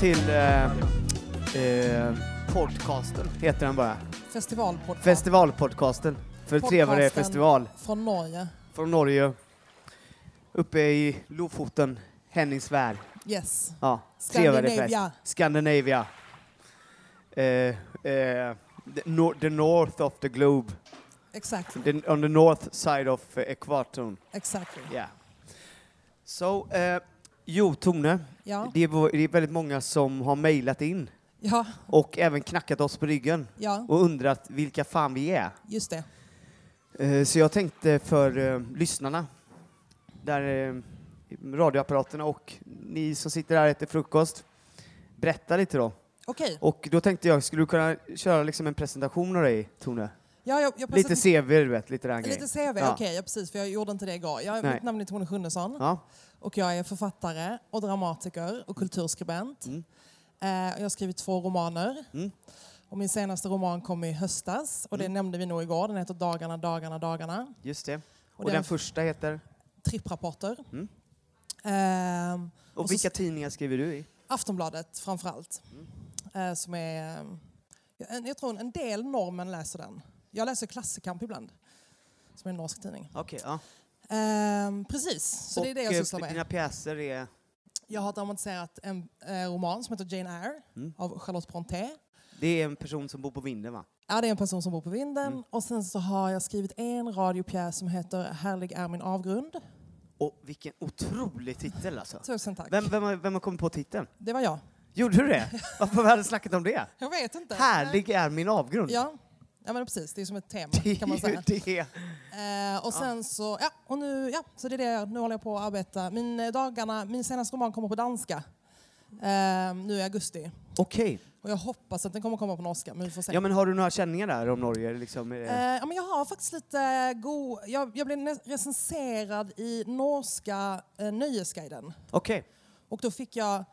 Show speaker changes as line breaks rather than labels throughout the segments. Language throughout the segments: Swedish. till eh, eh, podcasten, heter den bara.
Festivalpodcast
Festivalpodcasten. För
Podcasten.
Trevare festival.
från Norge.
Från Norge. Uppe i Lofoten, Henningsvärd.
Yes.
Ja,
Scandinavia.
Scandinavia. Eh, eh, the, nor- the north of the globe.
Exakt.
The, on the north side of eh, equatorn.
Exactly.
Yeah. So, eh, jo Tone,
Ja.
det, är, vår- det är väldigt många som har mejlat in
ja,
och även knackat oss på ryggen
ja,
och undrat vilka fan vi är.
just det.
Eh, Så jag tänkte för eh, lyssnarna, där eh, radioapparaterna och ni som sitter här och äter frukost, berätta lite då.
Okej.
Och då tänkte jag, skulle du kunna köra liksom en presentation av dig, Tone?
Ja, jag, jag
Lite CV, du vet, lite den grejen.
Lite CV,
Ja.
okej, Alltså, ja, precis, för jag gjorde inte det igår. Jag,
Nej.
mitt namn är Tone Schunnesson
Ja,
och jag är författare och dramatiker och kulturskribent.
Mm.
Eh, och jag har skrivit två romaner.
Mm.
Och min senaste roman kom i höstas och det nämnde vi nog igår. Den heter Dagarna, dagarna, dagarna.
just det.
Och
Och,
det är
den
en-
första heter?
Tripprapporter.
Mm.
Ehm,
Och,
Och så-
vilka tidningar skriver du i?
Aftonbladet framför allt. Eh, som är, eh, jag, jag tror en del norrmän läser den. Jag läser Klassikamp ibland, som är en norsk tidning.
Okej, ja.
Ehm, precis, så det är det jag sysslar med.
eh, dina pjäser är?
Jag har dramatiserat en eh, roman som heter Jane Eyre
Mm.
av Charlotte Brontë.
Det är en person som bor på vinden, va?
Ja, det är en person som bor på vinden.
Mm.
Och sen så har jag skrivit en radiopjäs som heter Härlig är min avgrund.
Och vilken otrolig titel alltså.
Tusen tack.
Vem, vem, har- vem har kommit på titeln?
Det var jag.
Gjorde du det? Varför har vi aldrig snackat om det?
Jag vet inte.
Härlig är min avgrund.
Ja. ja, men precis. Det är som ett tema
Det
kan man
är ju
säga.
det.
Eh, och sen så, ja, och nu, ja, så det är det. jag- Nu håller jag på att arbeta. Min eh, dagarna, min senaste roman kommer på danska. Eh, nu i augusti.
Okej.
Och jag hoppas att den kommer komma på norska, men vi får se.
Ja, men har du några känningar där om Norge? Liksom, eh,
Eh, ja, men jag har faktiskt lite god... Jag, jag blev nä- recenserad i norska eh, Nöjesguiden.
Okej,
Och då fick jag...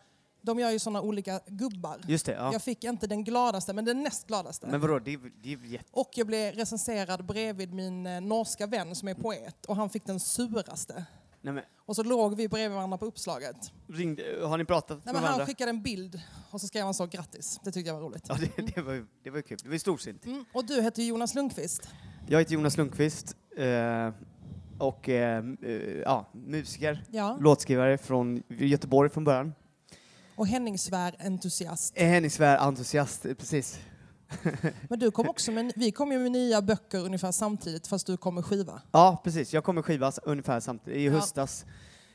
De gör ju såna olika gubbar.
just det. Ja.
Jag fick inte den gladaste, men den näst gladaste.
Men vadå, det är, det är jätte...
Och jag blev recenserad bredvid min eh, norska vän som är poet. Och han fick den suraste.
Nej, men,
Och så låg vi bredvid varandra på uppslaget.
ringde, har ni pratat
Nej,
med
men
varandra?
han skickade en bild och så skrev han så grattis. Det tyckte jag var roligt.
Ja, det, det, var, ju- det var ju kul. Det var ju storsint.
Mm. Och du heter ju Jonas Lundqvist.
Jag heter Jonas Lundqvist eh, och eh, m- eh, ja, musiker,
Ja.
låtskrivare från Göteborg från början.
Och Henning Svär entusiast.
Eh, Henningsvär, entusiast, eh, precis.
Men du kom också med, vi kom ju med nya böcker ungefär samtidigt fast du kom med skiva.
Ja, precis. Jag kommer skiva s- ungefär samtidigt, i
Ja.
höstas.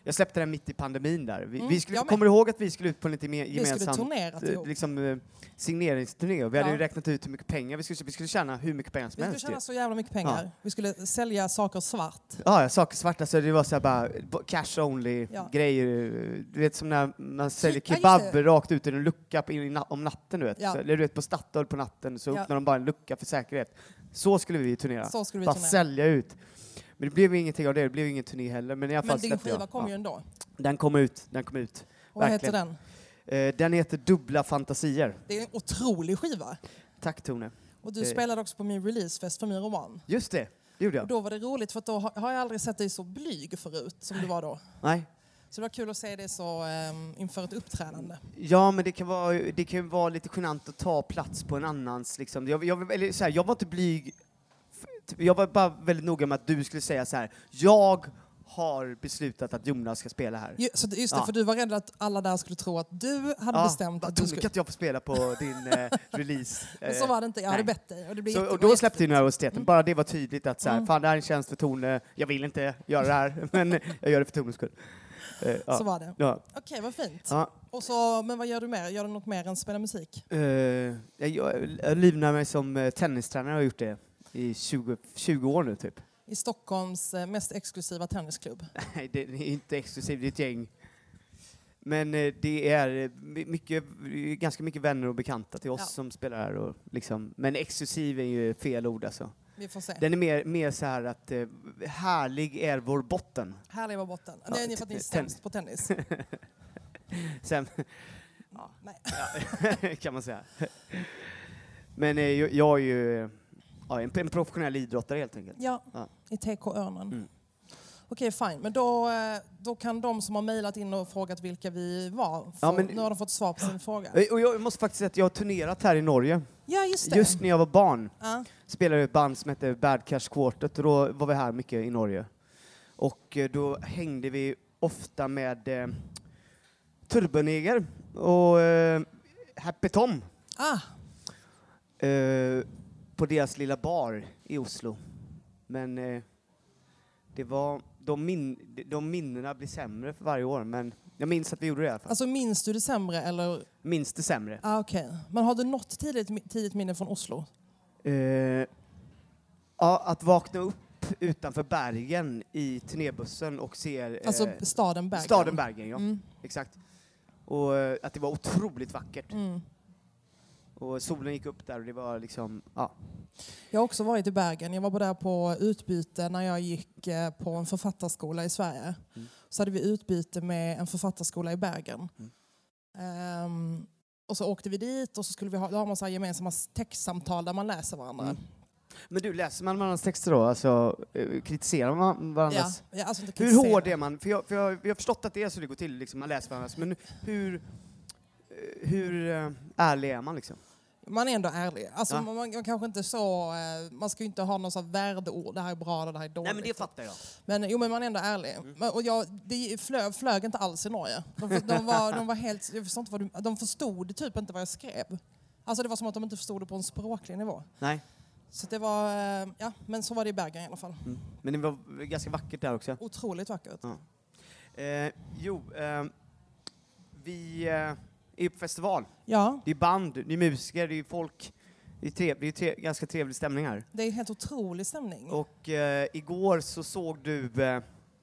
Jag släppte den mitt i pandemin där. Vi,
Mm,
vi skulle,
jag med.
kommer du ihåg att vi skulle ut på lite mer
Vi skulle
gemensam
turnera
eh,
ihop.
liksom, eh, signeringsturné och vi hade
Ja.
ju räknat ut hur mycket pengar vi skulle, vi skulle tjäna hur mycket pengar som
Vi skulle
helst. ju.
tjäna så jävla mycket pengar. Vi skulle sälja saker svart.
Ja, jag saker svarta så det var så här bara b- cash only
Ja.
grejer. Du vet som när man säljer
ja, just
kebab
det.
rakt ut ur en lucka på, in, i na- om natten du vet.
Ja.
Så, eller du vet på Statoil på natten så
Ja.
öppnar de bara en lucka för säkerhet. Så skulle vi turnera.
Så skulle vi
bara
turnera.
sälja ut. Men det blev ju ingenting av det, det blev ju ingen turné heller. Men i alla fall
Men din
släppte
skiva
jag.
kom
Ja.
ju ändå.
Den kom ut, den kom ut.
Och vad heter
Verkligen.
den?
Eh, den heter Dubbla fantasier.
Det är en otrolig skiva.
Tack Tone.
Och du
Det-
spelade också på min releasefest för min roman.
Just det, det gjorde
Och
jag.
då var det roligt för att då har har jag aldrig sett dig så blyg förut som du var då.
Nej.
Så det var kul att se dig så ehm, inför ett uppträdande.
Ja, men det kan, vara, det kan ju vara lite genant att ta plats på en annans... Liksom. Jag, jag, eller så här, jag var inte blyg. f- typ, Jag var bara väldigt noga med att du skulle säga så här. Jag har beslutat att Jonas ska spela här.
Ju- så det- Just det,
Ja.
för du var rädd att alla där skulle tro att du hade bestämt
vad
att du
dumt
skulle...
att jag får spela på din eh, release.
Men så
Eh,
var det inte, jag hade
nej.
bett dig. Och, det blev
så,
jätte-
och
det var
då släppte ju
jättefint.
nervositeten. Bara det var tydligt att så
Mm.
här, fan det här är en tjänst för Tone. Jag vill inte göra det här, men jag gör det för Tones skull. Eh, ja.
Så var det.
Ja.
Okej, vad fint.
Ja.
Och så, men vad gör du mer? Gör du något mer än spela musik?
Eh, jag, jag, jag livnär mig som eh, tennistränare och har gjort det i 20, 20 år nu typ.
I Stockholms eh, mest exklusiva tennisklubb.
Nej, det är inte exklusivt, det är ett gäng. Men eh, det är eh, my- mycket, ganska mycket vänner och bekanta till oss
Ja.
som spelar här. Och liksom, men exklusiv är ju fel ord alltså.
Vi får se.
Den är mer, mer så här att eh, härlig är vår botten.
Härlig var botten.
Ja,
det är ni för att ni är
t-
sämst på tennis.
Sen,
Nej.
kan man säga. Men eh, jag, jag är ju eh, ja, en, en professionell idrottare helt enkelt.
Ja,
Ja.
i TK Örnen.
Mm.
Okej, fine. Men då, eh, då kan de som har mejlat in och frågat vilka vi var, få,
Ja, men-
nu har de fått svar på sin fråga.
Eh, Och jag måste faktiskt säga att jag har turnerat här i Norge.
Ja, just det.
Just när jag var barn
Ja.
spelade jag i ett band som hette Bad Cash Quartet och då var vi här mycket i Norge. Och eh, då hängde vi ofta med eh, Turboneger och eh, Happy Tom
Ah,
eh, på deras lilla bar i Oslo. Men eh, det var, de, min, de minnena blir sämre för varje år, men jag minns att vi gjorde det i alla fall.
alltså minns du det sämre eller?
Minns det sämre.
Ah, okej. Men har du något tidigt, tidigt minne från Oslo?
Eh, ja, att vakna upp utanför Bergen i turnébussen och se eh,
Alltså staden Bergen?
staden Bergen. Ja,
Mm.
exakt. Och eh, att det var otroligt vackert.
Mm.
Och solen gick upp där och det var liksom, ja.
Jag har också varit i Bergen. Jag var bara där på utbyte när jag gick eh, på en författarskola i Sverige.
Mm.
Så hade vi utbyte med en författarskola i Bergen.
Mm.
Ehm, och så åkte vi dit och så skulle vi ha, då har man så här gemensamma textsamtal där man läser varandra.
Mm. Men du, läser man varandras texter då? Alltså, eh, kritiserar man
Ja,
varandras?
ja, alltså inte
Hur
kritisera.
hård är man? För jag, för jag, jag har förstått att det är så det går till, liksom, man läser varandras. Men hur, eh, hur eh, ärlig är man liksom?
Man är ändå ärlig. Alltså,
Ja.
man, man kanske inte så, eh, man ska ju inte ha någon sån här värdeord, det här är bra eller det här är dåligt.
Nej men det Mm. fattar jag.
Men, jo, men man är ändå ärlig. Men, och jag, det flög, flög inte alls i Norge. De, för- de, var, de, var helt, jag förstår inte vad du, de förstod typ inte vad jag skrev. Alltså det var som att de inte förstod det på en språklig nivå.
Nej.
Så det var, eh, ja, men så var det i Bergen i alla fall.
Mm. Men det var ganska vackert där också.
Otroligt vackert.
Eh, jo, eh, vi eh, är på festival.
Ja,
Det är band, det är musiker, det är folk. Det är, trev, det är tre, ganska trevlig stämning här.
det är en helt otrolig stämning. Oh,
Och eh, igår så såg du eh,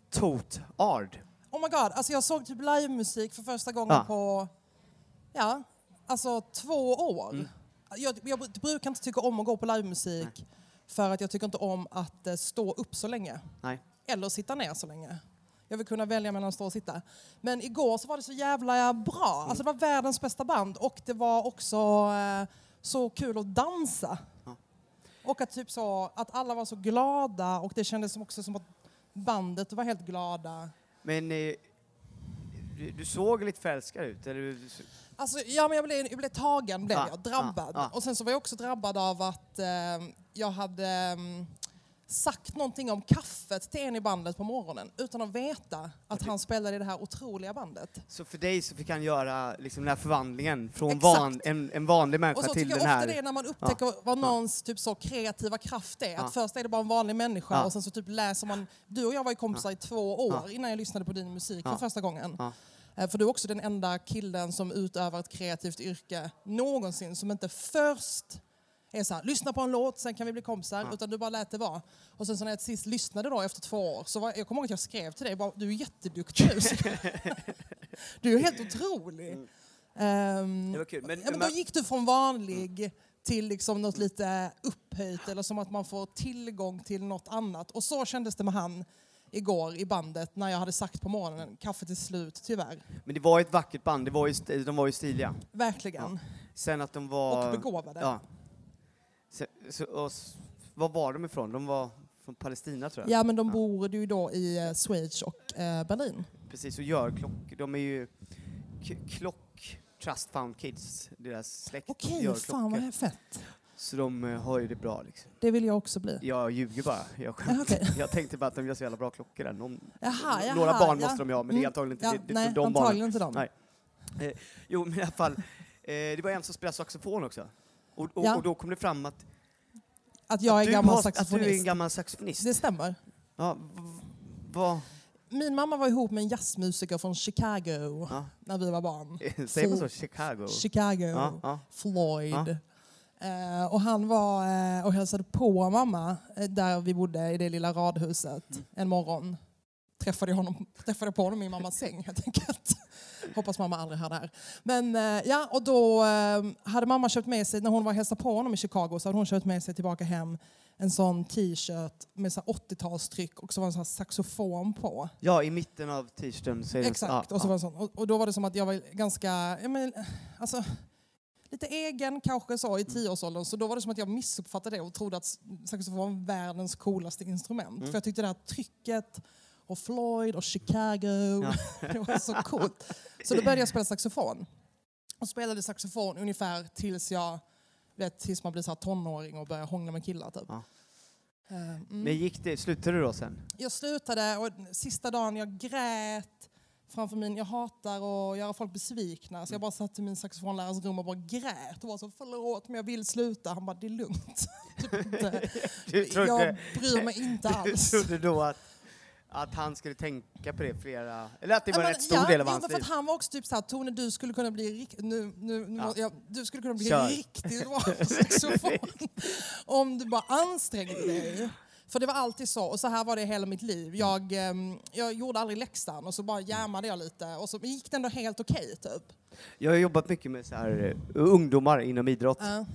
Tote Ard.
my god, alltså jag såg typ livemusik för första gången
Ja.
på, ja, alltså två år.
Mm.
Jag, jag brukar inte tycka om att gå på livemusik för att jag tycker inte om att eh, stå upp så länge.
Nej.
eller sitta ner så länge. Jag vill kunna välja mellan att stå och sitta. Men igår så var det så jävla
Mm.
bra. Alltså det var världens bästa band och det var också eh, så kul att dansa.
Ja.
Och att, typ så, att alla var så glada och det kändes som också som att bandet var helt glada.
Men eh, du, du såg lite förälskad ut. Eller, du-
Alltså, ja, men jag, blev, jag blev tagen, blev
Ah,
jag, drabbad.
ah, ah.
Och sen så var jag också drabbad av att eh, jag hade eh, sagt någonting om kaffet till en i bandet på morgonen utan att veta att han spelade i det här otroliga bandet.
så för dig så fick han göra liksom, den här förvandlingen från
Exakt.
van, en, en vanlig människa
Och så
till
tycker jag
den
ofta
här.
det är när man upptäcker vad någons typ så kreativa kraft är. Att först är det bara en vanlig människa
Ja.
och sen så typ läser man... Du och jag var ju kompisar i två år innan jag lyssnade på din musik för första gången.
Ja.
Eh, För du är också den enda killen som utövar ett kreativt yrke någonsin som inte först är så här, lyssna på en låt, sen kan vi bli kompisar. Utan du bara lät det vara. Och sen så när jag till sist lyssnade då efter två år, så var, jag kommer ihåg att jag skrev till dig, bara, du är jätteduktig nu. du är helt otrolig. Ehm,
Mm. Det var kul, men-
ja, men då
men- Mm.
gick du från vanlig till liksom något lite upphöjt eller som att man får tillgång till något annat. Och så kändes det med han igår i bandet när jag hade sagt på morgonen, kaffet är slut tyvärr.
Men det var ett vackert band, det var ju, st- de var ju stiliga.
Verkligen.
Sen att de var...
Och begåvade.
Ja. Så, så, och, s- var var de ifrån? De var från Palestina tror jag.
Ja men de bor ju då i eh, Schweiz och eh, Berlin.
Precis, och Görklock. De är ju K- Klock Trust Fund Kids, deras släkt.
Okej,
gör
fan
klockor.
vad fett.
Så de eh, har ju det bra liksom.
Det vill jag också bli.
Jag ljuger bara. Jag, skämtar.
okej.
jag tänkte bara att de gör så jävla bra klockor där. Någon,
Jaha, jaha,
några barn
ja.
måste de ju ha, men det är
Mm,
antagligen inte
ja,
det, det,
nej,
för de
antagligen
barnen.
inte de.
Nej. Eh, jo, men i alla fall. Eh, det var en som spelade saxofon också. Och, och,
Ja.
och då kom det fram att,
Att jag är
du,
gammal
har, att du är en
saxofonist.
gammal saxofonist.
Det stämmer.
Ja, v- vad...
Min mamma var ihop med en jazzmusiker från Chicago
Ja. eh,
när vi var barn.
Säger man så? Chicago?
Chicago,
Ja, ja.
Floyd.
Ja.
Eh, och han var eh, och hälsade på mamma eh, där vi bodde i det lilla radhuset en morgon. Träffade jag, honom, träffade jag på honom i mammas säng helt enkelt. Hoppas mamma aldrig hör det här. Men eh, ja, och då eh, hade mamma köpt med sig, när hon var och hälsade på honom i Chicago så hade hon köpt med sig tillbaka hem en sån t-shirt med så här 80-talstryck och så var det en sån här saxofon på.
Ja, i mitten av t-shirten. säger den-
Exakt.
ja,
och, så
ja.
var det sån. Och, och då var det som att jag var ganska, ja, men, alltså, lite egen kanske så
Mm.
i tioårsåldern. Så då var det som att jag
Mm.
missuppfattade det och trodde att saxofon var världens coolaste instrument. För jag tyckte det här trycket och Floyd och Chicago. det var så coolt. Så då började jag spela saxofon. Och spelade saxofon ungefär tills jag du vet, tills man blir så här tonåring och börjar hångla med killar. Typ.
Ja.
Eh, mm.
Men gick det, slutade du då sen?
Jag slutade och sista dagen jag grät framför min, jag hatar att göra folk besvikna så jag bara satt i min saxofonlärares rum och bara grät och var så förlåt men jag vill sluta. Han bara det är lugnt. typ inte.
Du
Jag
trodde,
bryr mig inte
du
alls.
trodde då att, att han skulle tänka på det flera, eller att det var en
Ja, men-
rätt stor
ja,
del av
jo,
hans
men för
liv?
att Han var också typ såhär, Tone du skulle kunna bli, rik- nu, nu, nu,
Ja.
ja. du skulle kunna bli
Kör.
riktigt bra på saxofon om du bara ansträngde dig. För det var alltid så, och så här var det hela mitt liv. Jag, ehm, jag gjorde aldrig läxan och så bara jammade jag lite och så gick det ändå helt okej typ.
Jag har jobbat mycket med så här, eh, ungdomar inom idrott.
Ja.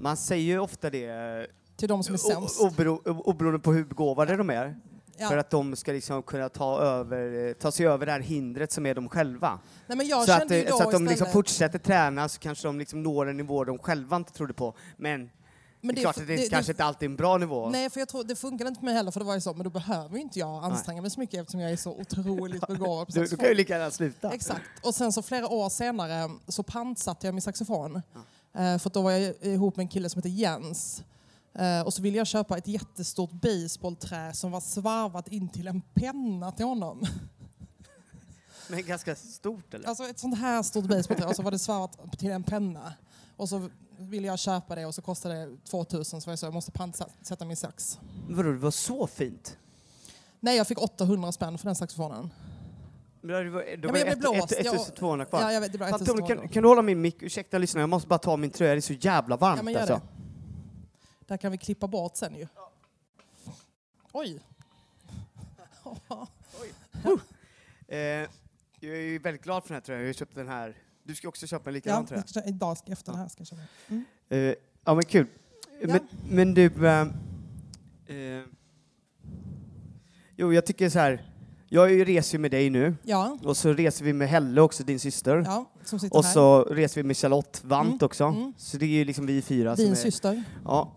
Man säger ju ofta det, eh,
till de som är sämst.
o- obero, o- oberoende på hur begåvade de är,
Ja.
för att de ska liksom kunna ta, över, eh, ta sig över det här hindret som är de själva.
Nej, men jag
så,
kände
att,
ju
eh,
då
så att de liksom
istället-
fortsätter träna så kanske de liksom når en nivå de själva inte trodde på. Men,
Men
det är klart
för-
att det, kanske inte alltid är en bra nivå.
Nej, för jag tror, det funkar inte för mig heller för det var ju så, men då behöver ju inte jag anstränga mig så mycket eftersom jag är så otroligt begåvad på
du, du kan ju lika gärna sluta.
Exakt. Och sen så flera år senare så pantsatte jag min saxofon. Eh, För att då var jag ihop med en kille som heter Jens. Eh, Och så ville jag köpa ett jättestort baseballträ som var svarvat in till en penna till honom.
Men ganska stort eller?
Alltså ett sånt här stort basebollträ och så var det svarvat till en penna. Och så ville jag köpa det och så kostade det 2000 så var jag så jag måste pantsätta min sax.
Vadå, det var så fint?
Nej, jag fick 800 spänn för den saxofonen.
Men då var, då
men
var
jag blev
ett-
blåst.
ett-
Jag-
1200 kvar.
Ja, jag vet, det var
Fan, Tony,
1200.
kan, kan du hålla min mick? Ursäkta lyssna, jag måste bara ta min tröja, det är så jävla varmt
Ja, men gör
alltså.
det. Där kan vi klippa bort sen ju. Oj.
Eh, jag är ju väldigt glad för den här tröjan, jag har ju köpt den här. Du ska också köpa en likadan
Ja,
tröja.
jag ska- idag ska efter det här ska jag köra.
Eh, ja men kul. Men, men du... Eh, eh, jo, jag tycker så här. Jag är ju- reser ju med dig nu
Ja,
och så reser vi med Helle också, din syster.
ja, som sitter
och
här.
så reser vi med Charlotte Vant
Mm,
också.
mm.
Så det är ju liksom vi fyra
Din
som är...
syster.
Ja.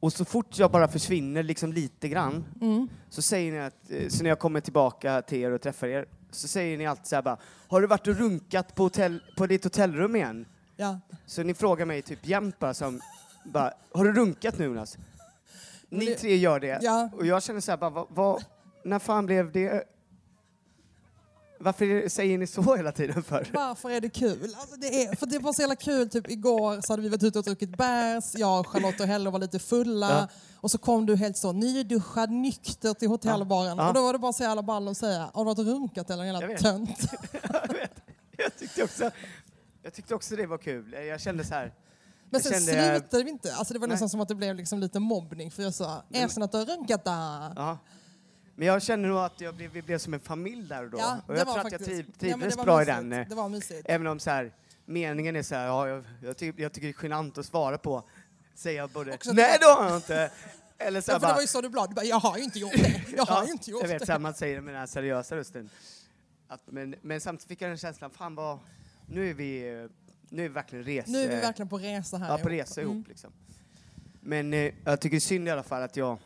Och så fort jag bara försvinner liksom lite grann
Mm.
så säger ni att, eh, så när jag kommer tillbaka till er och träffar er, så säger ni alltid så här bara, har du varit och runkat på, hotell, på ditt hotellrum igen?
Ja.
Så ni frågar mig typ jämt bara som, bara, har du runkat nu Jonas? Ni
det-
tre gör det.
Ja.
Och jag känner så här bara, vad, vad, när fan blev det? Varför är det- säger ni så hela tiden för?
Varför är det kul? Alltså det, är, för det var så jävla kul. Typ igår så hade vi varit ute och druckit bärs. Jag, Charlotte och Helle var lite fulla.
Ja.
Och så kom du helt så nyduschad, nykter till hotellbaren.
Ja.
Och då var det bara så jävla ball att säga, har du varit och runkat eller en
Jag
jävla
vet.
tönt?
jag, vet, jag, tyckte också, jag tyckte också det var kul. Jag kände så här,
Men sen
Jag kände-
slutade vi inte. Alltså det var
Nej.
nästan som att det blev liksom lite mobbning. För jag sa, erkänn att du har runkat där.
ja. Men jag känner nog att jag blev, vi blev som en familj där och då.
Ja,
och
det
jag
var
tror att jag
faktiskt-
triv,
Ja, men det
trivdes
var
bra i
mysigt.
den. eh,
Det var mysigt.
Även om så här, meningen är så här, ja, jag, jag, ty, jag tycker det är genant att svara på, säger jag både
Också att-
nej det har jag inte, eller så
Ja,
här
för det
bara,
var ju så du blev. Du bara, jag har ju inte gjort det. Jag har
ja,
ju inte gjort
jag
det.
vet, så här, man säger det med den här seriösa rösten. Att, men, men samtidigt fick jag den känslan, fan vad, nu är vi, eh, nu är vi verkligen rese,
Nu är vi verkligen på resa här.
eh,
Mm.
ja, på
ihop.
resa ihop liksom. Men eh, jag tycker det är synd i alla fall att jag,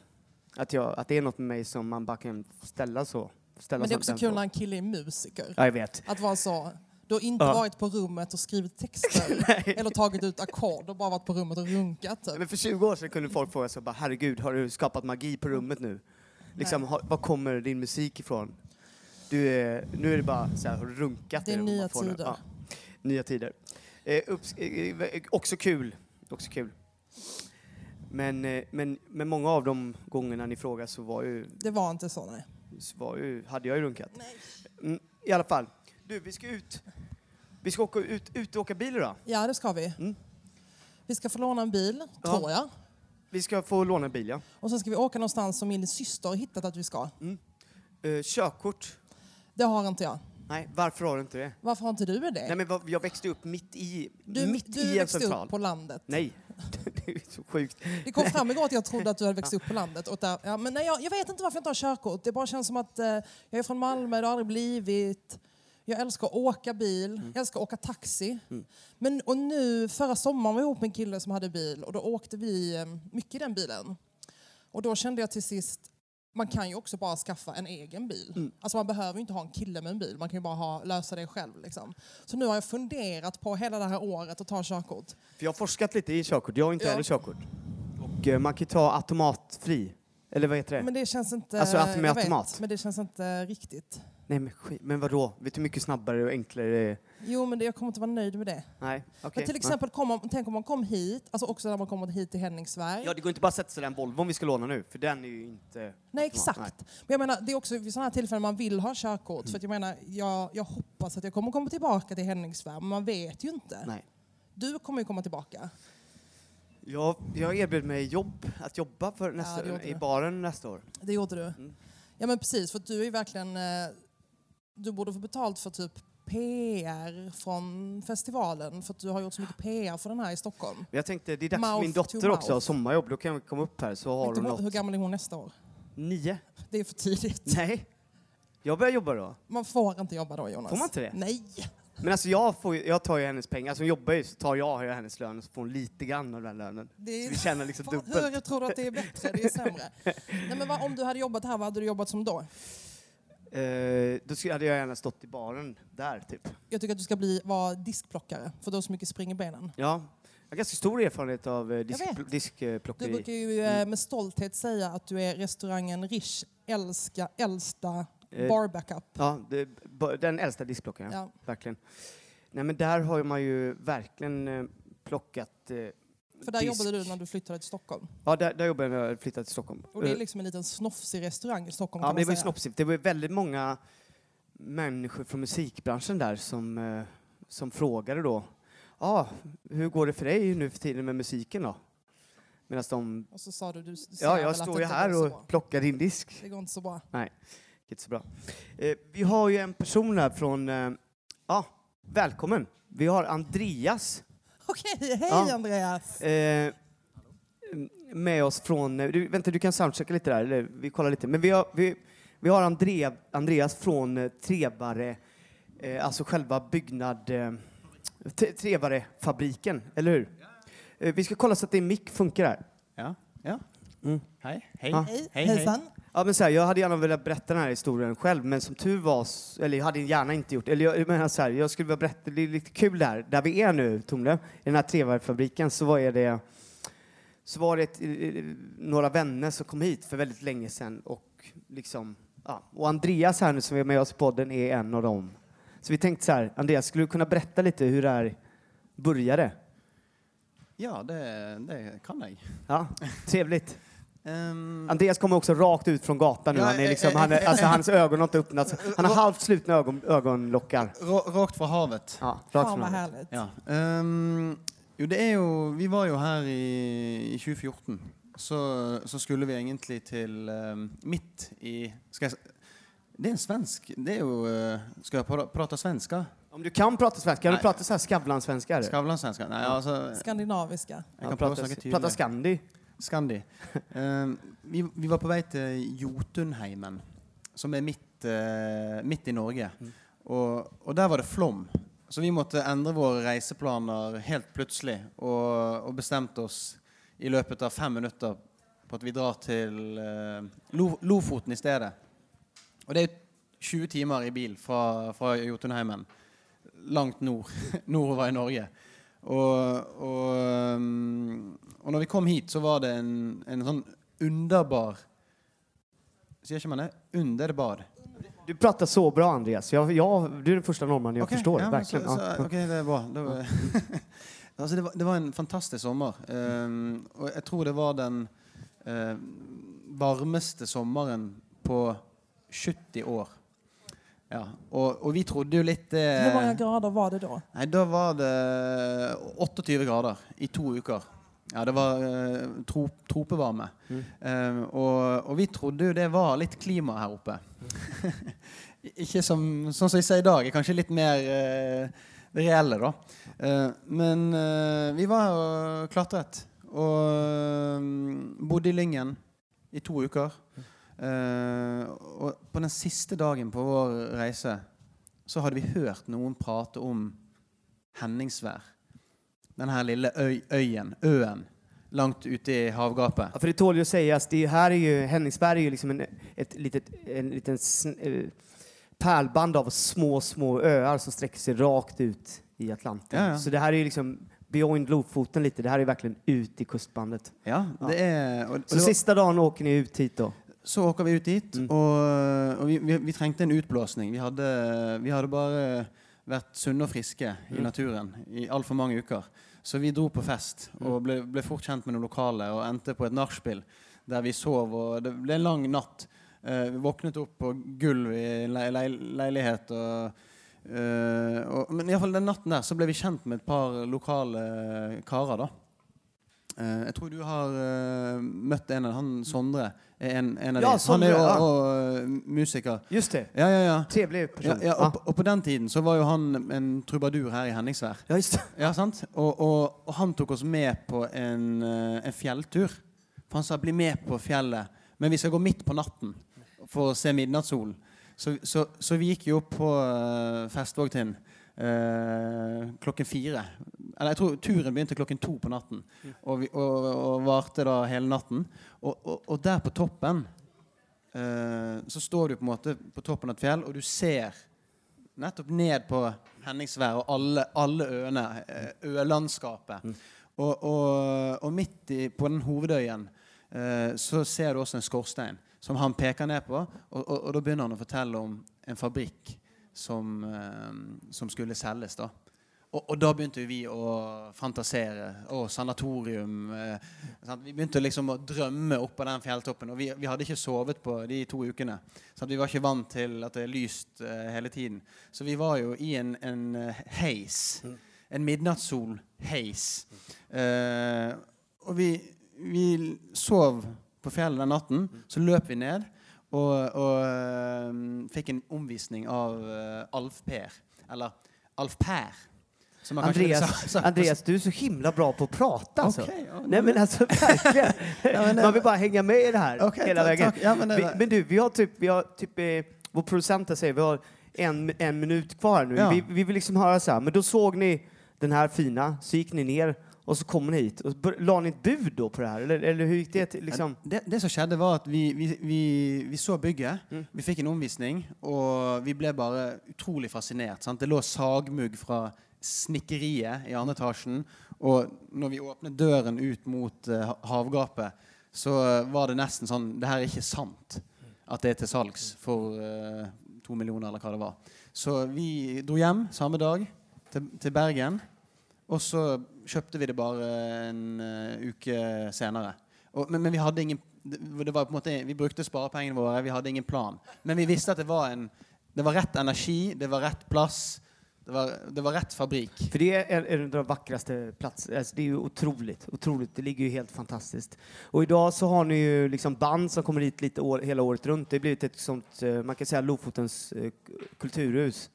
att jag, att det är något med mig som man bara kan ställa så. Ställa
Men det är
så-
också
den
kul
frågan.
när en kille är musiker.
Ja, jag vet.
Att vara så. Du har inte
Ja.
varit på rummet och skrivit texter
Nej.
eller tagit ut ackord och bara varit på rummet och runkat. Typ.
Men för 20 år sedan kunde folk fråga så bara, herregud, har du skapat magi på rummet nu? Liksom, har, var kommer din musik ifrån? Du är, nu är det bara så här, har du runkat?
Det är
i man
nya
får nu?
tider.
Ja, nya tider. Eh, upps- eh, eh, också kul. Också kul. Men, eh, men, men många av de gångerna ni frågar så var ju,
Det var inte så, nej.
så var ju, hade jag ju runkat. Mm, I alla fall. Du, vi ska ut. Vi ska åka ut, ut och åka bil idag.
Ja, det ska vi.
Mm.
Vi ska få låna en bil,
Ja.
tror jag.
Vi ska få låna en bil, ja.
Och sen ska vi åka någonstans som min syster har hittat att vi ska.
Eh, körkort?
Det har inte jag.
Nej, varför har du inte det?
Varför har inte du det?
Nej, men vad- jag växte upp mitt i,
du
mitt
du
i en
växte
central.
upp på landet.
Nej, det är så sjukt.
Det kom fram igår att jag trodde att du hade växt upp på landet. Och där, ja, men nej, jag, jag vet inte varför jag inte har körkort. Det bara känns som att eh, jag är från Malmö, det har aldrig blivit. Jag älskar att åka bil, jag älskar att åka taxi. Men, och nu, förra sommaren var jag ihop med en kille som hade bil och då åkte vi eh, mycket i den bilen. Och då kände jag till sist, Man kan ju också bara skaffa en egen bil. Alltså man behöver ju inte ha en kille med en bil, man kan ju bara ha, lösa det själv. Liksom. Så nu har jag funderat på hela det här året att ta körkort.
För jag har forskat lite i körkort, jag har inte
Ja.
heller körkort. Och eh, man kan ju ta automatfri, eller vad heter det?
Men det känns inte...
Alltså att med
jag vet,
automat?
men det känns inte riktigt.
Nej men skit, men vadå? Vet du hur mycket snabbare och enklare det är?
Jo, men det, jag kommer inte vara nöjd med det.
Nej, okej.
Men till exempel, kom man, tänk om man kom hit, alltså också när man kommer hit till Henningsberg.
Ja, det går inte bara att sätta sig i den Volvon vi ska låna nu, för den är ju inte...
Nej,
automat.
exakt. Men jag menar, det är också vid sådana här tillfällen man vill ha körkort. För att jag menar, jag, jag hoppas att jag kommer komma tillbaka till Henningsberg, men man vet ju inte.
Nej.
Du kommer ju komma tillbaka.
Jag, jag erbjöd mig jobb, att jobba för
det
nästa,
gjorde
i
du.
baren nästa år.
Det gjorde du.
Mm.
Ja, men precis. För att du är ju verkligen... eh, Du borde få betalt för typ PR från festivalen. För att du har gjort så mycket PR för den här i Stockholm.
Men Jag tänkte, det är dags för
Mouth
min
to
dotter också
mouth.
har sommarjobb, då kan jag komma upp här så har
Vet du
hon
hur- hur
något.
gammal är hon nästa år?
Nio?
Det är för tidigt.
Nej. Jag börjar jobba då.
Man får inte jobba då, Jonas.
Får man inte det?
Nej!
Men alltså jag, får, ju- jag tar ju hennes pengar, alltså hon jobbar ju så tar jag ju hennes lön och så får hon lite grann av den lönen.
Det är-
Så vi tjänar liksom
Fan,
dubbelt.
Hur tror du att det är bättre? Det är sämre. Nej, men vad, om du hade jobbat här, vad hade du jobbat som då?
Eh, då skulle- hade jag gärna stått i baren där typ.
Jag tycker att du ska bli, vara diskplockare, för du har så mycket spring i benen.
Ja. Jag har ganska stor erfarenhet av eh,
Jag
disk,
vet. Du
diskplockeri.
brukar ju eh,
Mm.
med stolthet säga att du är restaurangen Rish älska, äldsta
Eh,
bar backup.
Ja, det, b- den äldsta diskplockaren, ja.
Ja.
verkligen. Nej men där har man ju verkligen eh, plockat... eh,
För där
disk.
jobbade du när du flyttade till Stockholm.
Ja, där, där jobbade jag när jag flyttade till Stockholm.
Och det är
Eh,
liksom en liten snofsig restaurang i Stockholm
Ja,
kan
men det var
man
ju
säga.
snopsigt. Det var ju väldigt många människor från musikbranschen där som, eh, som frågade då. Ja, hur går det för dig nu för tiden med musiken då? Medan de,
Och så sa du, du s- säger
ja,
väl
jag
att
står
det
ju
inte
här
går så bra.
och plockar din disk.
Det går inte så bra.
Inte så bra. Eh, vi har ju en person här från, eh, ja, välkommen. Vi har Andreas
Okej, hej
Ja.
Andreas!
eh, med oss från, eh, du, vänta du kan soundchecka lite där, eller vi kollar lite. Men vi har, vi, vi har Andre, Andreas från eh, Trevare, eh, alltså själva byggnad, eh, Tre- Trevare-fabriken, eller hur? Eh, vi ska kolla så att din mick funkar här.
Ja, ja.
Mm.
Hej. Hej.
Ja.
Hej,
hej.
hejsan!
Ja, men så här, jag hade gärna velat berätta den här historien själv, men som tur var, s- eller jag hade gärna inte gjort Eller jag, jag menar så här, jag skulle vilja berätta, det är lite kul där, där vi är nu, Tomle, i den här trevarvfabriken, så var det, så var det ett, eh, några vänner som kom hit för väldigt länge sedan och liksom, ja. Och Andreas här nu som är med oss i podden är en av dem. Så vi tänkte så här, Andreas, skulle du kunna berätta lite hur det här började?
Ja, det, det kan jag.
Ja, trevligt.
Ehm,
Andreas kommer också rakt ut från gatan nu.
Ja,
Han är
eh,
liksom,
eh,
han är,
eh,
alltså, hans ögon har inte öppnats. Han har halvt slutna ögon, ögonlockar.
ra- rakt från havet.
Ja, rakt från
Fan vad
ögonen.
härligt.
Ja. ehm, jo, det er jo Vi var jo her i, i 2014. Så, så skulle vi egentlig til ehm, midt i Skal jeg s- Det er en svensk Det er jo eh, Skal jeg pra- prate svenska?
Om du kan prata svenska, kan du
Nej.
prata så här Skavlan-svenska? eller?
Skavlan-svenska? Nei, altså
Skandinaviska.
Jeg
Ja,
alltså, kan prøve å
prata,
snakke
prata
tydelig.
skandi.
Skandi. Ehm, vi, vi var på vei til Jotunheimen, som er midt, eh, midt i Norge. Og, og der var det flom. Så vi måtte endre våre reiseplaner helt plutselig. Og, og bestemte oss i løpet av fem minutter på at vi drar til eh, Lo, Lofoten i stedet. Og det er 20 timer i bil fra, fra Jotunheimen. Langt nord. Nordover i Norge. Og, og, um, og når vi kom hit, så var det en, en sånn underbar Sier ikke man det? Underbar.
Du pratar så bra, Andreas. Jag, jag, du är den första norrmannen jag
Ok,
förstår.
ja, men
verkligen.
Så,
ja.
så, ok, det er bra. Det var, altså, det var, det var en fantastisk sommer. Um, og jeg tror det var den eh, varmeste sommeren på 70 år. Ja, og, og vi trodde jo litt det
Eh,
Hur många grader var det då?
Nei, da var det 28 grader i to uker. Ja, det var eh, tro, tropevarme.
Mm.
Eh, og, og vi trodde jo det var litt klima her oppe. Ikke som, sånn som vi ser i dag, er kanskje litt mer eh, det reelle, da. Eh, men eh, vi var og klatret. Og mm, bodde i Lyngen i to uker. Eh, og på den siste dagen på vår reise så hadde vi hørt noen prate om Henningsvær. Den her lille øy, øyen, øen langt ute i havgapet.
Ja, för det tål ju att sägas, det är, här är ju, Henningsberg är ju liksom en, ett litet, en liten sn- eh, pärlband av små, små öar som sträcker sig rakt ut i Atlanten.
Ja, ja.
Så det här är ju liksom beyond Lofoten lite, det här är verkligen ut i kustbandet.
Ja, det er, og, og
Så
det var,
sista dagen åker ni ut hit då?
så åker vi ut dit, og, og vi, vi, vi trengte en utblåsning. Vi hadde, vi hadde bare vært sunne og friske i naturen i altfor mange uker. Så vi dro på fest og ble, ble fort kjent med noen lokale og endte på et nachspiel der vi sov. Og det ble en lang natt. Eh, vi våknet opp på gulv i en le le leilighet. Og, eh, og, men iallfall den natten der så ble vi kjent med et par lokale karer. da. Eh, jeg tror du har eh, møtt en av han Sondre. er En, en av
Ja,
de.
Sondre,
han er jo
ja.
og, musiker.
Just det,
Ja, ja, ja.
trevlig person.
ja, ja og, og på den tiden så var jo han en trubadur her i Henningsvær.
ja just det.
Ja, sant? Og, og, og han tok oss med på en, eh, en fjelltur. For han sa 'bli med på fjellet', men vi skal gå midt på natten for å se midnattssolen. Så, så, så vi gikk jo opp på eh, Festvågtind eh, klokken fire. Eller jeg tror turen begynte klokken to på natten og, vi, og, og varte da hele natten. Og, og, og der på toppen eh, så står du på en måte på toppen av et fjell, og du ser nettopp ned på Henningsvær og alle, alle øene, eh, ølandskapet. Og, og, og midt i, på den hovedøyen eh, så ser du også en skorstein som han peker ned på, og, og, og da begynner han å fortelle om en fabrikk som, eh, som skulle selges. da. Og, og da begynte vi å fantasere. Å, sanatorium. Eh, sant? Vi begynte liksom å drømme oppå den fjelltoppen. Og vi, vi hadde ikke sovet på de to ukene. Sant? Vi var ikke vant til at det er lyst eh, hele tiden. Så vi var jo i en, en eh, heis. En midnattssol-heis. Eh, og vi, vi sov på fjellet den natten. Så løp vi ned og, og eh, fikk en omvisning av eh, Alf Per. Eller Alf Per. Som man kanskje ville
Andreas,
sagt-
Andreas, du är så himla bra på att prata alltså.
Okej, ja,
Nej men alltså verkligen. Man vill bara hänga med i det här
Okej,
hela
ta-
vägen.
tack. Ja, men det
vi,
var-
men du, vi har typ, vi har typ eh, vår producent där säger vi har en, en minut kvar nu.
Ja.
Vi, vi vill liksom höra så här, men då såg ni den här fina, så gick ni ner och så kom ni hit. Och bör, la ni ett bud då på det här? Eller, eller hur gick det till, liksom?
det, det som skjedde, var at vi, vi, vi, vi så bygget.
Mm.
Vi fikk en omvisning, og vi ble bare utrolig fascinert. Sant? Det lå sagmugg fra snikkeriet i andre etasjen. Og når vi åpnet døren ut mot eh, ha- havgapet, så var det nesten sånn Det her er ikke sant at det er til salgs for eh, to millioner, eller hva det var. Så vi dro hjem samme dag til, til Bergen. Og så kjøpte vi det bare en eh, uke senere. Og, men, men vi hadde ingen det det var på en måte, Vi brukte sparepengene våre, vi hadde ingen plan. Men vi visste at det var en Det var rett energi, det var rett plass, det var, det var rett fabrikk.
För det är en, en av de vackraste platserna. Alltså det är ju otroligt, otroligt. Det ligger ju helt fantastiskt. Och idag så har ni ju liksom band som kommer hit lite år, hela året runt. Det har blivit ett sånt, eh, man kan säga Lofotens eh, k- kulturhus.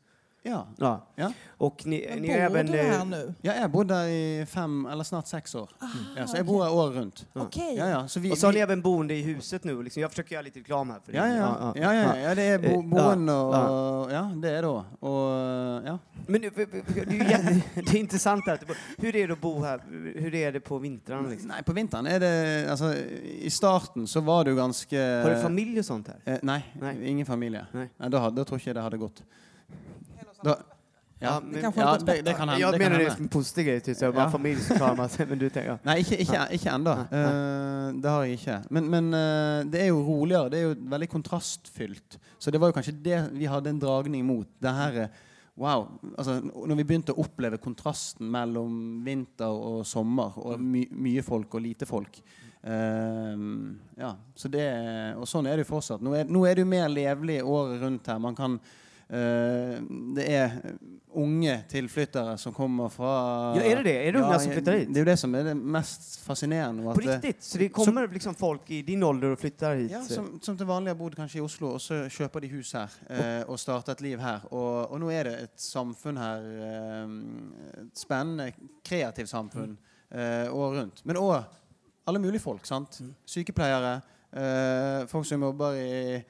Ja.
Ja.
ja.
Och ni, ni
Bor
har även...
du här
eh,
nu?
Ja, jeg bodde der i fem, eller snart seks år. ja, så jeg bor her året rundt.
Okej.
Ja, ja, så vi,
Och så har ni
vi,
även boende i huset nu. Liksom. Jag försöker göra lite reklam här. För er.
ja, ja, ja, ja, ja, det er bo,
Eh,
boen
ja,
og
ja.
Ja, det er det òg. Og ja.
Men nu, det är ju jätte, det er intressant här. att bo- Hur är det att bo här? Hur är det på vintrarna? Liksom?
Nei, på vinteren er det Altså, i starten så var det jo ganske
Har du familj och sånt här?
Eh, nei,
Nei.
ingen familie.
Nei.
Nei. da, hadde- da tror ikke jeg det hadde gått. Da, ja,
Ja, men- Det
kanskje
ja,
hadde gått
det, det kan hende.
Jag
det
menar
kan
det
hende.
som en positiv grej, typ, så jag bara
Ja.
familj så klarar man sig. Men du tänker, ja.
Nei, ikke, ikke, ikke ennå. Eh, det har jeg ikke. Men, men eh, det er jo roligere. Det er jo veldig kontrastfylt. Så det var jo kanskje det vi hadde en dragning mot. Det her eh, Wow. Altså, når vi begynte å oppleve kontrasten mellom vinter og sommer, og
Mm.
my, mye folk og lite folk eh, Ja. Så det Og sånn er det jo fortsatt. Nå er, nå er det jo mer levelig året rundt her. Man kan eh, det er unge tilflyttere som kommer fra
Ja, er det det? Er det unge som
jeg-
flytter hit?
det er jo det som er det mest fascinerende. og
På
at det-
riktigt? Alltså- Så det kommer liksom folk i din ålder och flyttar hit? eh?
Ja, som, som til vanlig har bodd kanskje i Oslo, og så kjøper de hus her eh, og starter et liv her. Og, og nå er det et samfunn her, eh, et spennende, kreativt samfunn eh, året rundt. Men òg alle mulige folk. sant?
Mm.
Sykepleiere, eh, folk som jobber i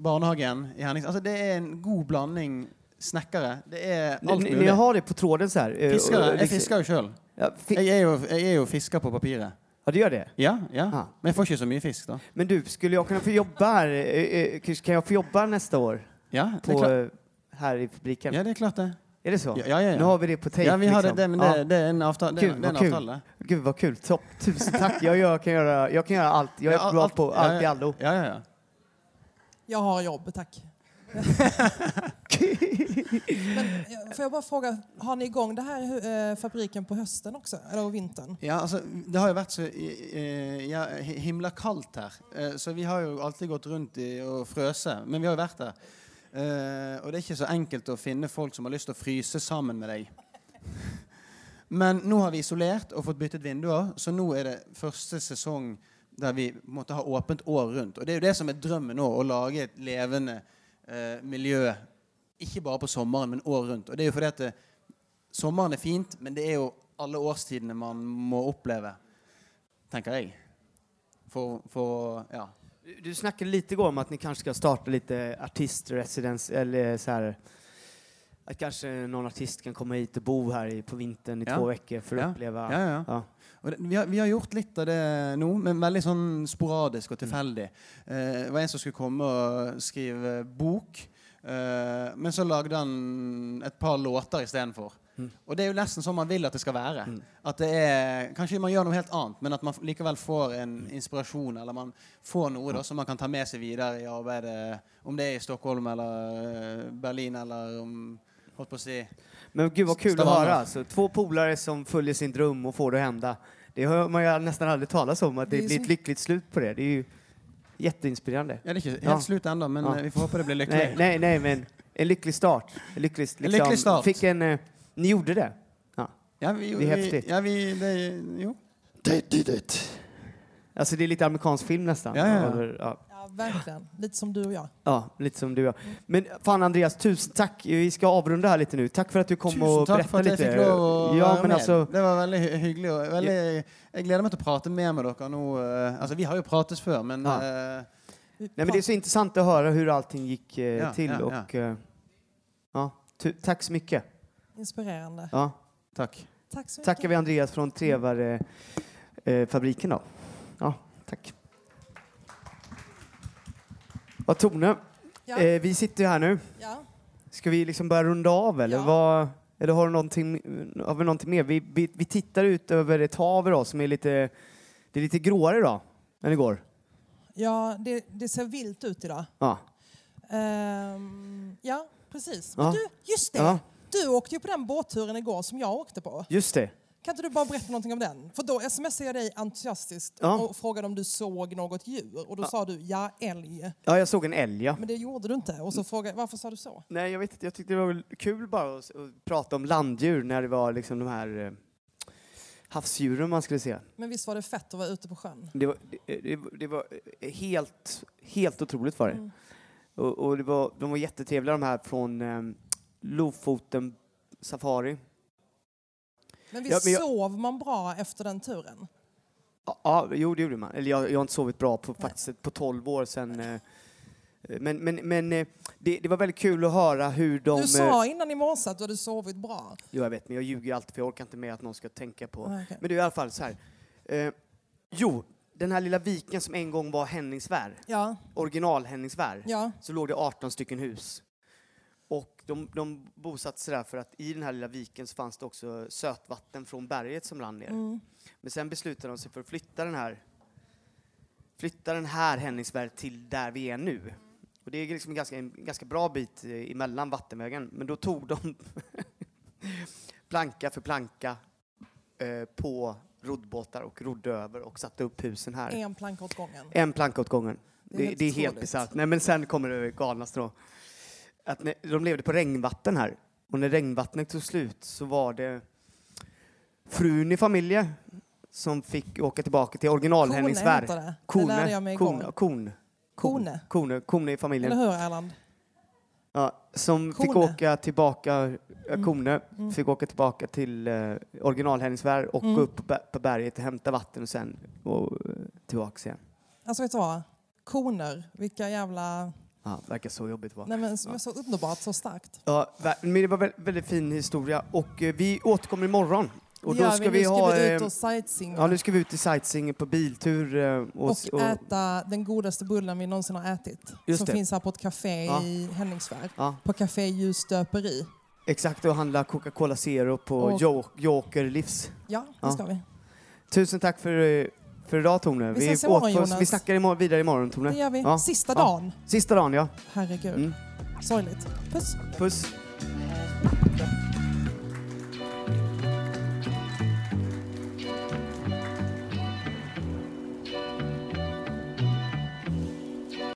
barnehagen i Henningsen. Altså, det er en god blanding snekkere. Det er
Ni,
alt
ni, ni
mulig.
har det på tråden så här? eh, och-
Fiskere.
och
Jeg
liksom-
fisker jo sjøl.
Ja, fi-
Jeg, er jo- jeg er jo fisker på papiret.
Ja, du gör det?
Ja, ja.
Ah.
Men jeg får ikke så mye fisk, da.
Men du, skulle jag kunna få jobba här? eh, eh, Kan jag få jobba nästa år?
Ja, det er
På,
klart,
eh, här i fabriken?
ja, det, er klart det.
Är det så?
Ja, ja, ja.
Nu har vi det på tape.
Ja, vi har det,
liksom.
det, men
Ja.
det, det er en avtale. Det,
Kul,
det er en
kul.
avtale.
Gud vad kul, topp. Tusen tack. Jag, gör, kan göra, jag kan göra allt. Jag är
Ja,
bra på
ja,
allt i allo.
Ja, ja, ja.
Jag har jobb, tack. Men eh, får jag bara fråga, har ni igång det här hu- eh, fabriken på høsten också? Eller vintern?
Ja, altså, Det har jo vært så eh, ja, hi- himla kaldt her, eh, så vi har jo alltid gått rundt i, og frøse. Men vi har jo vært der. Eh, og det er ikke så enkelt å finne folk som har lyst til å fryse sammen med deg. Men nå har vi isolert og fått byttet vinduer, så nå er det første sesong der vi på en måte har åpent år rundt. Og det er jo det som er drømmen nå, å lage et levende eh, miljø. Ikke bare på sommeren, men år rundt. Og det er jo fordi at det, Sommeren er fint, men det er jo alle årstidene man må oppleve, tenker jeg. For, for ja.
Du- Du snackade lite igår om att ni kanske ska starta lite artistresidens eller så här att kanske någon artist kan komma hit och bo här i, på vintern i
Ja.
två veckor för att
Ja.
uppleva.
ja, ja.
Ja.
Og det, vi, har, vi har gjort litt av det nå, men veldig sånn sporadisk og
Mm.
tilfeldig. Eh, det var en som skulle komme og skrive bok, eh, men så lagde han et par låter istedenfor.
Mm.
Og det er jo nesten sånn man vil at det skal være.
Mm.
At det er, Kanskje man gjør noe helt annet, men at man likevel får en
Mm.
inspirasjon, eller man får noe da, som man kan ta med seg videre i arbeidet, om det er i Stockholm eller eh, Berlin eller om Holdt på å si
Men gud vad kul
Stavanger.
att höra. Alltså, två polare som följer sin dröm och får det att hända. Det hör man ju nästan aldrig talas om, att det,
Det är
blir
som-
ett lyckligt slut på det. Det är ju jätteinspirerande.
Ja, det er ikke helt
Ja.
slutt ennå, men
Ja.
eh, vi får håpe det blir lykkelig.
Nej, nej, nej, men en lycklig start. En lycklig, liksom,
lycklig start.
Fick en, eh, ni gjorde det.
Ja, vi,
Det är häftigt.
Vi, ja, vi, det, jo.
Alltså det är lite amerikansk film nästan.
Ja, ja, ja.
Över- ja.
Ja, verkligen. Lite som du och jag.
Ja, lite som du. ja. Men fan Andreas, tusen tack. Vi ska avrunda här lite nu. Tack för att du kom
Tusen
och
takk for
berättade
at
lite.
jeg fikk lov å
ja,
være
men
med.
alltså,
det var veldig hy- hyggelig. Og veldig, jeg gleder meg til å prate mer med dere nå. eh, Altså, vi har jo prates før, men
Ja.
eh,
Vi
nej, men det är så intressant att höra hur allting gick eh,
Ja,
till.
ja, ja.
och, eh, ja, tu- tack så mycket.
pratar Inspirerande.
Ja.
takk.
Tack så mycket.
Tackar vi Andreas från Trevare, eh, fabriken då. Ja, tack. Ja, Tone,
Ja,
eh, vi sitter ju här nu.
ja.
Ska vi liksom börja runda av eller?
Ja.
Vad, eller har, du någonting, har vi någonting mer? Vi, vi, vi tittar ut över ett hav idag som är lite, det är lite gråare idag än igår.
ja det, det ser vilt ut idag.
Ja.
Ehm, ja, precis.
Ja.
Men du, just det.
ja,
Du åkte ju på den båtturen igår som jag åkte på.
just det.
Kan inte du bara berätta någonting om den? För då smsade jag dig entusiastiskt
Ja.
och frågade om du såg något djur. Och då sa du ja, älg.
Ja, jag såg en älg. Ja.
Men det gjorde du inte. Och så frågade jag varför sa du så?
Nej, jag vet inte. Jag tyckte det var väl kul bara att, att prata om landdjur när det var liksom de här eh, havsdjuren man skulle se.
Men visst var det fett att vara ute på sjön?
Det var, det, det, det var eh, helt, helt otroligt var det.
Mm.
Och, och det var, de var jättetrevliga de här från eh, Lofoten Safari.
Men
Ja,
visst
men jag-
sov man bra efter den turen?
Ja, Ja, jo det gjorde man. Eller jag, jag har inte sovit bra på,
Nej.
faktiskt på 12 år sedan. eh, Men, men, men eh, det, det var väldigt kul att höra hur de...
Du
eh,
sa innan i morse att du hade sovit bra.
Jo, jag vet, men jag ljuger ju alltid för jag orkar inte med att någon ska tänka på...
Ah, okej.
Men det är i alla fall så här. Eh, jo, den här lilla viken som en gång var Henningsvär,
Ja,
original Henningsvär,
ja.
så låg det 18 stycken hus. Och de, de bosatte sig där för att i den här lilla viken så fanns det också sötvatten från berget som rann ner.
Mm.
Men sen beslutade de sig för att flytta den här flytta den här Henningsberg till där vi är nu. Och det är liksom en ganska, en ganska bra bit eh, emellan vattenvägen. Men då tog de planka för planka eh, på roddbåtar och rodde över och satte upp husen här.
En planka åt gången.
En planka åt gången.
Det är
Det,
helt
det är helt
otroligt.
bisarrt. Nej, men sen kommer det galnaste då. Att när, de levde på regnvatten här. Och när regnvattnet tog slut så var det frun i familjen som fick åka tillbaka till
Kone
originalhänningsvärd.
heter det. Det lärde jag mig
Kone.
igår.
Kone. Kone. Kone. Kone.
Kone.
Kone i
Eller
familjen.
hur, Erland?
Ja, som fick
Kone.
åka tillbaka, äh,
Mm.
Kone,
Mm.
fick åka tillbaka till eh, originalhänningsvärd och
Mm.
gå upp på ber- på berget och hämta vatten och sen och, eh, tillbaka igen.
Alltså vet du vad? Koner, vilka jävla...
Ja, verkar så jobbigt vara.
Nej men som är så underbart, så starkt.
Ja, ver- men det var vä- väldigt fin historia och eh, vi återkommer imorgon Och
Det
då
gör
ska
vi,
vi
nu ska
ha...
vi ut
eh,
och sightseeinga.
Ja, nu ska vi ut i sightseeing på biltur. eh, Och, s-
och äta den godaste bullen vi någonsin har ätit.
Just
som
det.
finns här på ett café
Ja.
i Henningsvärd.
ja,
På Café Ljusstöperi.
exakt, och handla Coca-Cola Zero på
Och-
jo- Joker Livs.
Ja, det
Ja.
ska vi.
Tusen tack för, eh, för idag, Tone.
Vi ses imorgon, Jonas.
vi snackar imorgon, vidare imorgon,
Det
Tone.
gör vi.
Ja.
Sista
Ja.
dagen.
Sista dagen, ja.
Herregud.
Mm.
Sorgligt. Puss.
Puss.